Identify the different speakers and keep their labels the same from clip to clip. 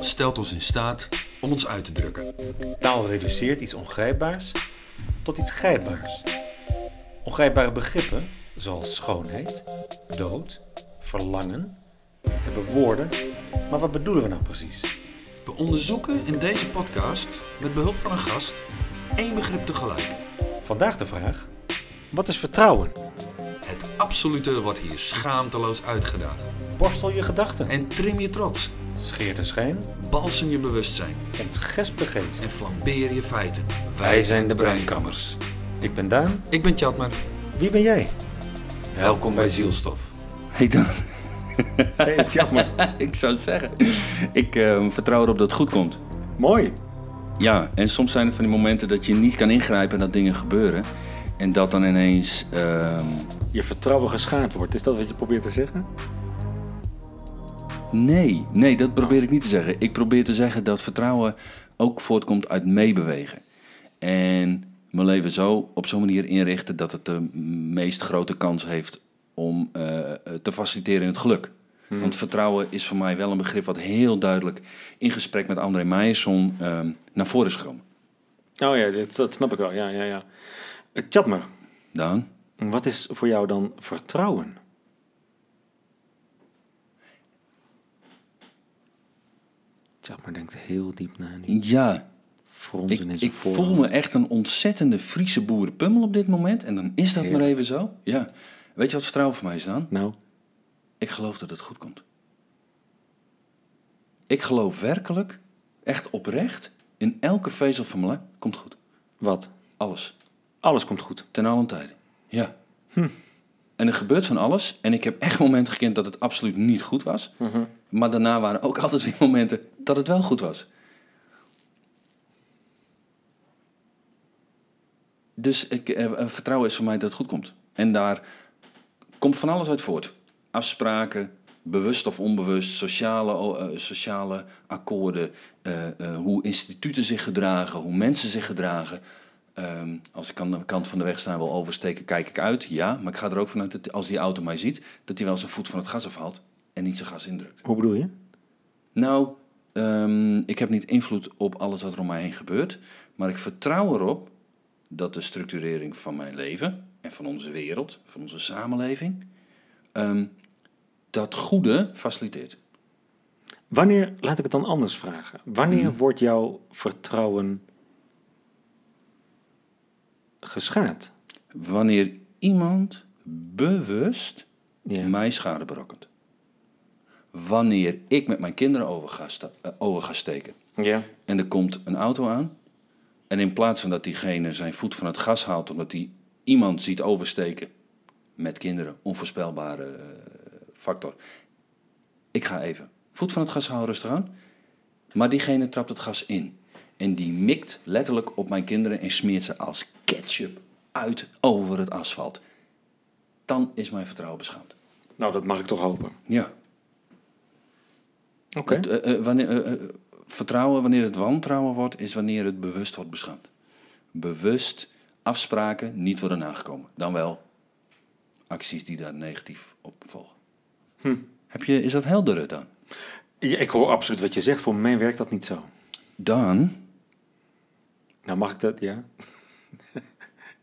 Speaker 1: stelt ons in staat om ons uit te drukken.
Speaker 2: Taal reduceert iets ongrijpbaars tot iets grijpbaars. Ongrijpbare begrippen, zoals schoonheid, dood, verlangen, hebben woorden, maar wat bedoelen we nou precies?
Speaker 1: We onderzoeken in deze podcast, met behulp van een gast, één begrip tegelijk.
Speaker 2: Vandaag de vraag: wat is vertrouwen?
Speaker 1: Het absolute wordt hier schaamteloos uitgedaagd.
Speaker 2: Borstel je gedachten,
Speaker 1: En trim je trots,
Speaker 2: scheer de schijn,
Speaker 1: balsem je bewustzijn
Speaker 2: ontgesp de geest.
Speaker 1: en flambeer je feiten.
Speaker 2: Wij zijn de Breinkammers. Ik ben Daan,
Speaker 1: Ik ben Tjatmer.
Speaker 2: wie ben jij?
Speaker 1: Welkom bij Zielstof.
Speaker 3: Hey dan.
Speaker 2: Hey, Tjapman.
Speaker 3: ik zou het zeggen. Ik eh, vertrouw erop dat het goed komt.
Speaker 2: Mooi.
Speaker 3: Ja, en soms zijn er van die momenten dat je niet kan ingrijpen en dat dingen gebeuren. En dat dan ineens. ehm,
Speaker 2: Je vertrouwen geschaad wordt, is dat wat je probeert te zeggen?
Speaker 3: nee, nee, dat probeer ik niet te zeggen. Ik probeer te zeggen dat vertrouwen ook voortkomt uit meebewegen. En mijn leven zo op zo'n manier inrichten dat het de meest grote kans heeft om eh, te faciliteren in het geluk. Want vertrouwen is voor mij wel een begrip wat heel duidelijk in gesprek met André Meijerson ehm, naar voren is gekomen.
Speaker 2: Oh ja, dat, dat snap ik wel. Ja, ja, ja. Eh, Tjapmer,
Speaker 3: Daan?
Speaker 2: wat is voor jou dan vertrouwen? Tjapmer denkt heel diep na nu.
Speaker 3: Ja, ik,
Speaker 2: Fronsen in zijn
Speaker 3: ik
Speaker 2: voorhoofd.
Speaker 3: voel me echt een ontzettende Friese boerenpummel op dit moment. En dan is dat maar
Speaker 2: Heerlijk.
Speaker 3: even zo. Ja. Weet je wat vertrouwen voor mij is dan?
Speaker 2: Nou,
Speaker 3: Ik geloof dat het goed komt. Ik geloof werkelijk, echt oprecht, in elke vezel van mijn lijf komt goed.
Speaker 2: wat?
Speaker 3: Alles.
Speaker 2: Alles komt goed.
Speaker 3: Ten allen tijde. Ja. En er gebeurt van alles. En ik heb echt momenten gekend dat het absoluut niet goed was. Maar daarna waren ook altijd weer momenten dat het wel goed was. Dus ik, eh, eh, vertrouwen is voor mij dat het goed komt. En daar komt van alles uit voort. Afspraken, bewust of onbewust, sociale, o- eh, sociale akkoorden, eh, eh, hoe instituten zich gedragen, hoe mensen zich gedragen. Ehm, als ik aan de kant van de weg staan wil oversteken, kijk ik uit, ja. Maar ik ga er ook vanuit dat als die auto mij ziet, dat hij wel zijn voet van het gas afhaalt en niet zijn gas indrukt.
Speaker 2: Hoe bedoel je?
Speaker 3: Nou, ehm, ik heb niet invloed op alles wat er om mij heen gebeurt. Maar ik vertrouw erop dat de structurering van mijn leven en van onze wereld, van onze samenleving, ehm, dat goede faciliteert.
Speaker 2: Wanneer, laat ik het dan anders vragen. Wanneer wordt jouw vertrouwen geschaad?
Speaker 3: Wanneer iemand bewust
Speaker 2: Ja.
Speaker 3: mij schade berokkent. Wanneer ik met mijn kinderen over ga, sta- eh, over ga steken.
Speaker 2: ja.
Speaker 3: En er komt een auto aan. En in plaats van dat diegene zijn voet van het gas haalt omdat hij iemand ziet oversteken met kinderen, onvoorspelbare eh, factor. Ik ga even. Voet van het gas houden, rustig aan. Maar diegene trapt het gas in. En die mikt letterlijk op mijn kinderen en smeert ze als ketchup uit over het asfalt. Dan is mijn vertrouwen beschaamd.
Speaker 2: Nou, dat mag ik toch hopen.
Speaker 3: Ja.
Speaker 2: Oké.
Speaker 3: Het, eh, eh, wanneer, eh, eh, vertrouwen, wanneer het wantrouwen wordt, is wanneer het bewust wordt beschaamd. Bewust afspraken niet worden nagekomen. Dan wel acties die daar negatief op volgen.
Speaker 2: Hm.
Speaker 3: Heb je, is dat helder dan?
Speaker 2: Ja, ik hoor absoluut wat je zegt. Voor mij werkt dat niet zo.
Speaker 3: Dan?
Speaker 2: Nou, mag ik dat? Ja.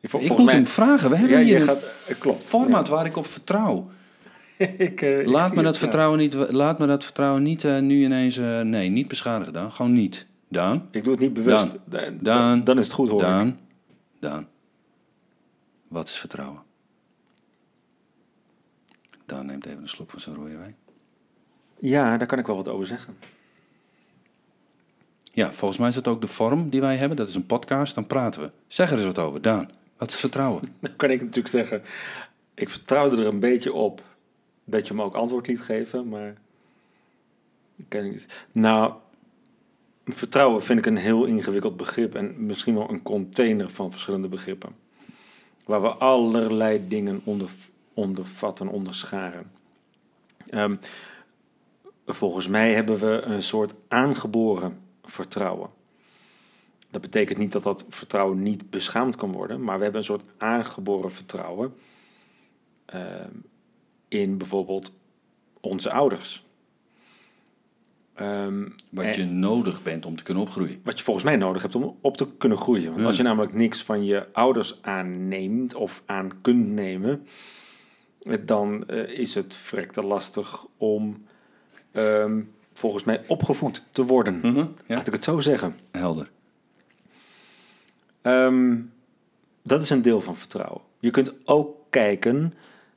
Speaker 2: Vol-
Speaker 3: Ik moet hem vragen. We hebben
Speaker 2: Ja, je
Speaker 3: hier een
Speaker 2: gaat- eh, klopt,
Speaker 3: format waar ik op vertrouw.
Speaker 2: ik, eh, ik zie
Speaker 3: Laat me,
Speaker 2: het,
Speaker 3: dat
Speaker 2: ja.
Speaker 3: vertrouwen niet, laat me dat vertrouwen niet eh, nu ineens... eh, nee, niet beschadigen dan. Gewoon niet. Dan?
Speaker 2: Ik doe het niet bewust.
Speaker 3: Daan.
Speaker 2: Dan, dan,
Speaker 3: Daan.
Speaker 2: dan is het goed hoor. ik.
Speaker 3: Daan, Daan, wat is vertrouwen? Daan neemt even een slok van zijn rode wijn.
Speaker 2: Ja, daar kan ik wel wat over zeggen.
Speaker 3: Ja, volgens mij is dat ook de vorm die wij hebben. Dat is een podcast, dan praten we. Zeg er eens wat over, Daan. Wat is vertrouwen?
Speaker 2: Dan kan ik natuurlijk zeggen, ik vertrouwde er een beetje op dat je me ook antwoord liet geven, maar ik ken niet. Nou, vertrouwen vind ik een heel ingewikkeld begrip en misschien wel een container van verschillende begrippen, waar we allerlei dingen onder, ondervatten, onderscharen. Ehm, volgens mij hebben we een soort aangeboren vertrouwen. Dat betekent niet dat dat vertrouwen niet beschaamd kan worden, maar we hebben een soort aangeboren vertrouwen ehm, in bijvoorbeeld onze ouders. Ehm, Ehm,
Speaker 3: Wat
Speaker 2: en-
Speaker 3: je nodig bent om te kunnen opgroeien.
Speaker 2: wat je volgens mij nodig hebt om op te kunnen groeien. Want
Speaker 3: Ja.
Speaker 2: als je namelijk niks van je ouders aanneemt of aan kunt nemen, eh, dan eh, is het verrekte lastig om ehm, volgens mij opgevoed te worden.
Speaker 3: Mhm. Ja,
Speaker 2: Laat ik het zo zeggen.
Speaker 3: helder.
Speaker 2: Ehm, dat is een deel van vertrouwen. Je kunt ook kijken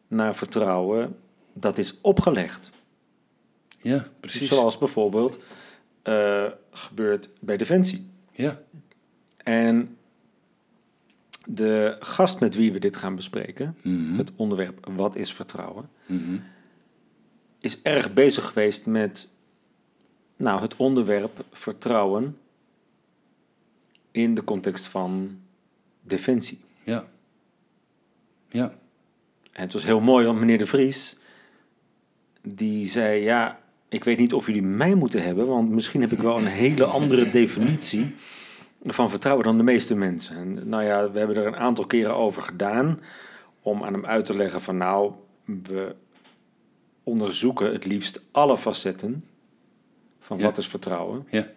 Speaker 2: naar vertrouwen dat is opgelegd.
Speaker 3: Ja, precies.
Speaker 2: Zoals bijvoorbeeld eh, gebeurt bij Defensie.
Speaker 3: Ja,
Speaker 2: En de gast met wie we dit gaan bespreken,
Speaker 3: Mhm.
Speaker 2: het onderwerp Wat is vertrouwen,
Speaker 3: Mhm.
Speaker 2: is erg bezig geweest met nou, het onderwerp vertrouwen in de context van defensie.
Speaker 3: ja. Ja,
Speaker 2: En het was heel mooi, want meneer De Vries, die zei, ja, ik weet niet of jullie mij moeten hebben, want misschien heb ik wel een hele andere definitie van vertrouwen dan de meeste mensen. En nou ja, we hebben er een aantal keren over gedaan om aan hem uit te leggen van, nou, we onderzoeken het liefst alle facetten van
Speaker 3: Ja.
Speaker 2: wat is vertrouwen.
Speaker 3: ja.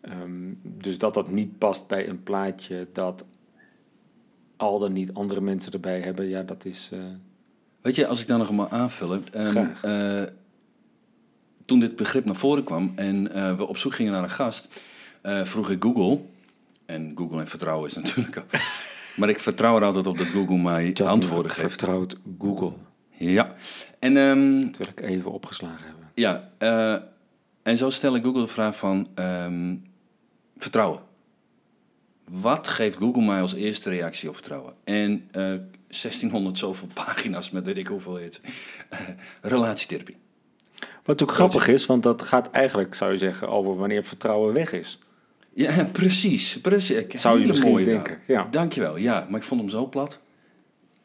Speaker 2: Ehm, dus dat dat niet past bij een plaatje dat al dan niet andere mensen erbij hebben, ja, dat is... eh,
Speaker 3: Weet je, als ik daar nog eenmaal aanvul, ehm,
Speaker 2: Graag.
Speaker 3: eh, toen dit begrip naar voren kwam en eh, we op zoek gingen naar een gast, eh, vroeg ik Google, en Google en vertrouwen is natuurlijk al, maar ik vertrouw er altijd op dat Google mij
Speaker 2: Chatbot
Speaker 3: antwoorden geeft.
Speaker 2: Vertrouwt Google.
Speaker 3: Ja, en ehm,
Speaker 2: Dat wil ik even opgeslagen hebben.
Speaker 3: Ja, eh, en zo stel ik Google de vraag van ehm, vertrouwen. Wat geeft Google mij als eerste reactie op vertrouwen? En eh 1600 zoveel pagina's met weet ik hoeveel het. relatietherapie.
Speaker 2: Wat ook grappig is, want dat gaat eigenlijk, zou je zeggen, over wanneer vertrouwen weg is.
Speaker 3: Ja, precies. precies.
Speaker 2: Zou je
Speaker 3: Hele
Speaker 2: misschien
Speaker 3: mooie
Speaker 2: denken,
Speaker 3: daar.
Speaker 2: ja.
Speaker 3: Dankjewel, ja. Maar ik vond hem zo plat.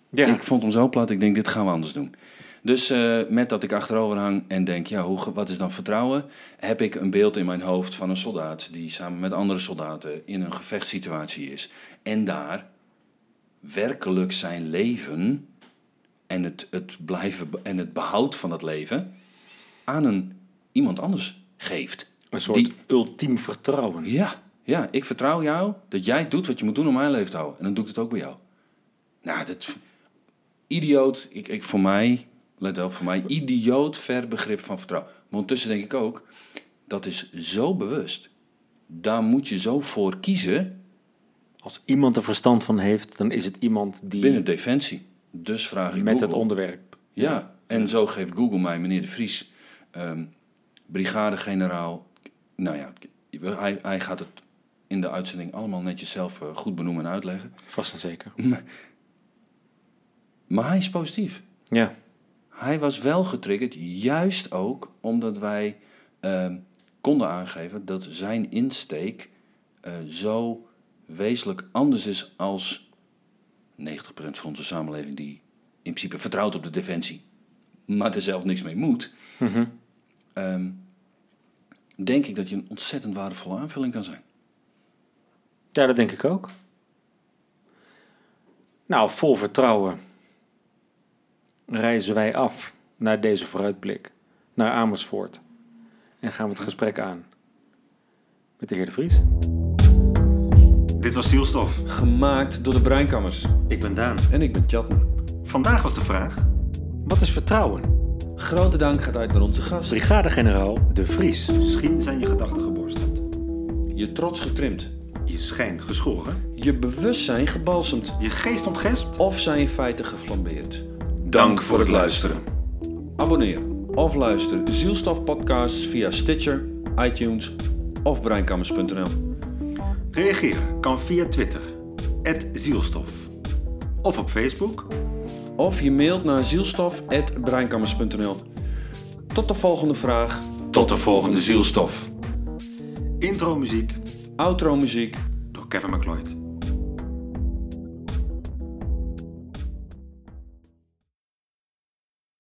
Speaker 2: Ja.
Speaker 3: Ik vond hem zo plat, ik denk, dit gaan we anders doen. Dus eh, met dat ik achterover hang en denk, ja, hoe, ge- wat is dan vertrouwen? Heb ik een beeld in mijn hoofd van een soldaat die samen met andere soldaten in een gevechtssituatie is. En daar werkelijk zijn leven en het, het blijven be- en het behoud van dat leven aan een, iemand anders geeft.
Speaker 2: Een soort
Speaker 3: Die-
Speaker 2: ultiem vertrouwen.
Speaker 3: ja, ja, ik vertrouw jou dat jij doet wat je moet doen om mijn leven te houden. En dan doe ik het ook bij jou. Nou, dat... Idioot, ik, ik voor mij, let wel, voor mij, idioot ver begrip van vertrouwen. Maar ondertussen denk ik ook, dat is zo bewust. Daar moet je zo voor kiezen
Speaker 2: Als iemand er verstand van heeft, dan is het iemand die
Speaker 3: binnen Defensie. Dus vraag ik
Speaker 2: met het
Speaker 3: Google.
Speaker 2: onderwerp.
Speaker 3: Ja, en zo geeft Google mij, meneer De Vries, ehm, brigadegeneraal. Nou ja, hij, hij gaat het in de uitzending allemaal netjes zelf eh, goed benoemen en uitleggen.
Speaker 2: Vast en zeker.
Speaker 3: Maar hij is positief.
Speaker 2: Ja.
Speaker 3: Hij was wel getriggerd, juist ook omdat wij ehm, konden aangeven dat zijn insteek eh, zo wezenlijk anders is als 90% van onze samenleving die in principe vertrouwt op de defensie, maar er zelf niks mee moet. Ehm, denk ik dat je een ontzettend waardevolle aanvulling kan zijn.
Speaker 2: ja, dat denk ik ook. Nou, vol vertrouwen reizen wij af naar deze vooruitblik, naar Amersfoort. En gaan we het gesprek aan met de heer De Vries.
Speaker 1: Dit was Zielstof.
Speaker 3: Gemaakt door de Breinkammers.
Speaker 1: Ik ben Daan.
Speaker 3: En ik ben Chatmer.
Speaker 1: Vandaag was de vraag.
Speaker 2: Wat is vertrouwen?
Speaker 3: Grote dank gaat uit naar onze gast.
Speaker 2: Brigadegeneraal De Vries.
Speaker 1: Misschien zijn je gedachten geborsteld.
Speaker 3: Je trots getrimd.
Speaker 1: Je schijn geschoren.
Speaker 3: Je bewustzijn gebalsemd.
Speaker 1: Je geest ontgespt.
Speaker 3: Of zijn in feite geflambeerd.
Speaker 1: Dank voor het luisteren.
Speaker 3: Abonneer of luister Zielstof podcasts via Stitcher, iTunes of breinkammers.nl.
Speaker 1: Reageer kan via Twitter. Zielstof. Of op Facebook.
Speaker 3: Of je mailt naar zielstof.breinkammers.nl. Tot de volgende vraag.
Speaker 1: Tot de volgende
Speaker 3: zielstof.
Speaker 1: Intro muziek
Speaker 3: Outro muziek.
Speaker 1: door Kevin McLeod.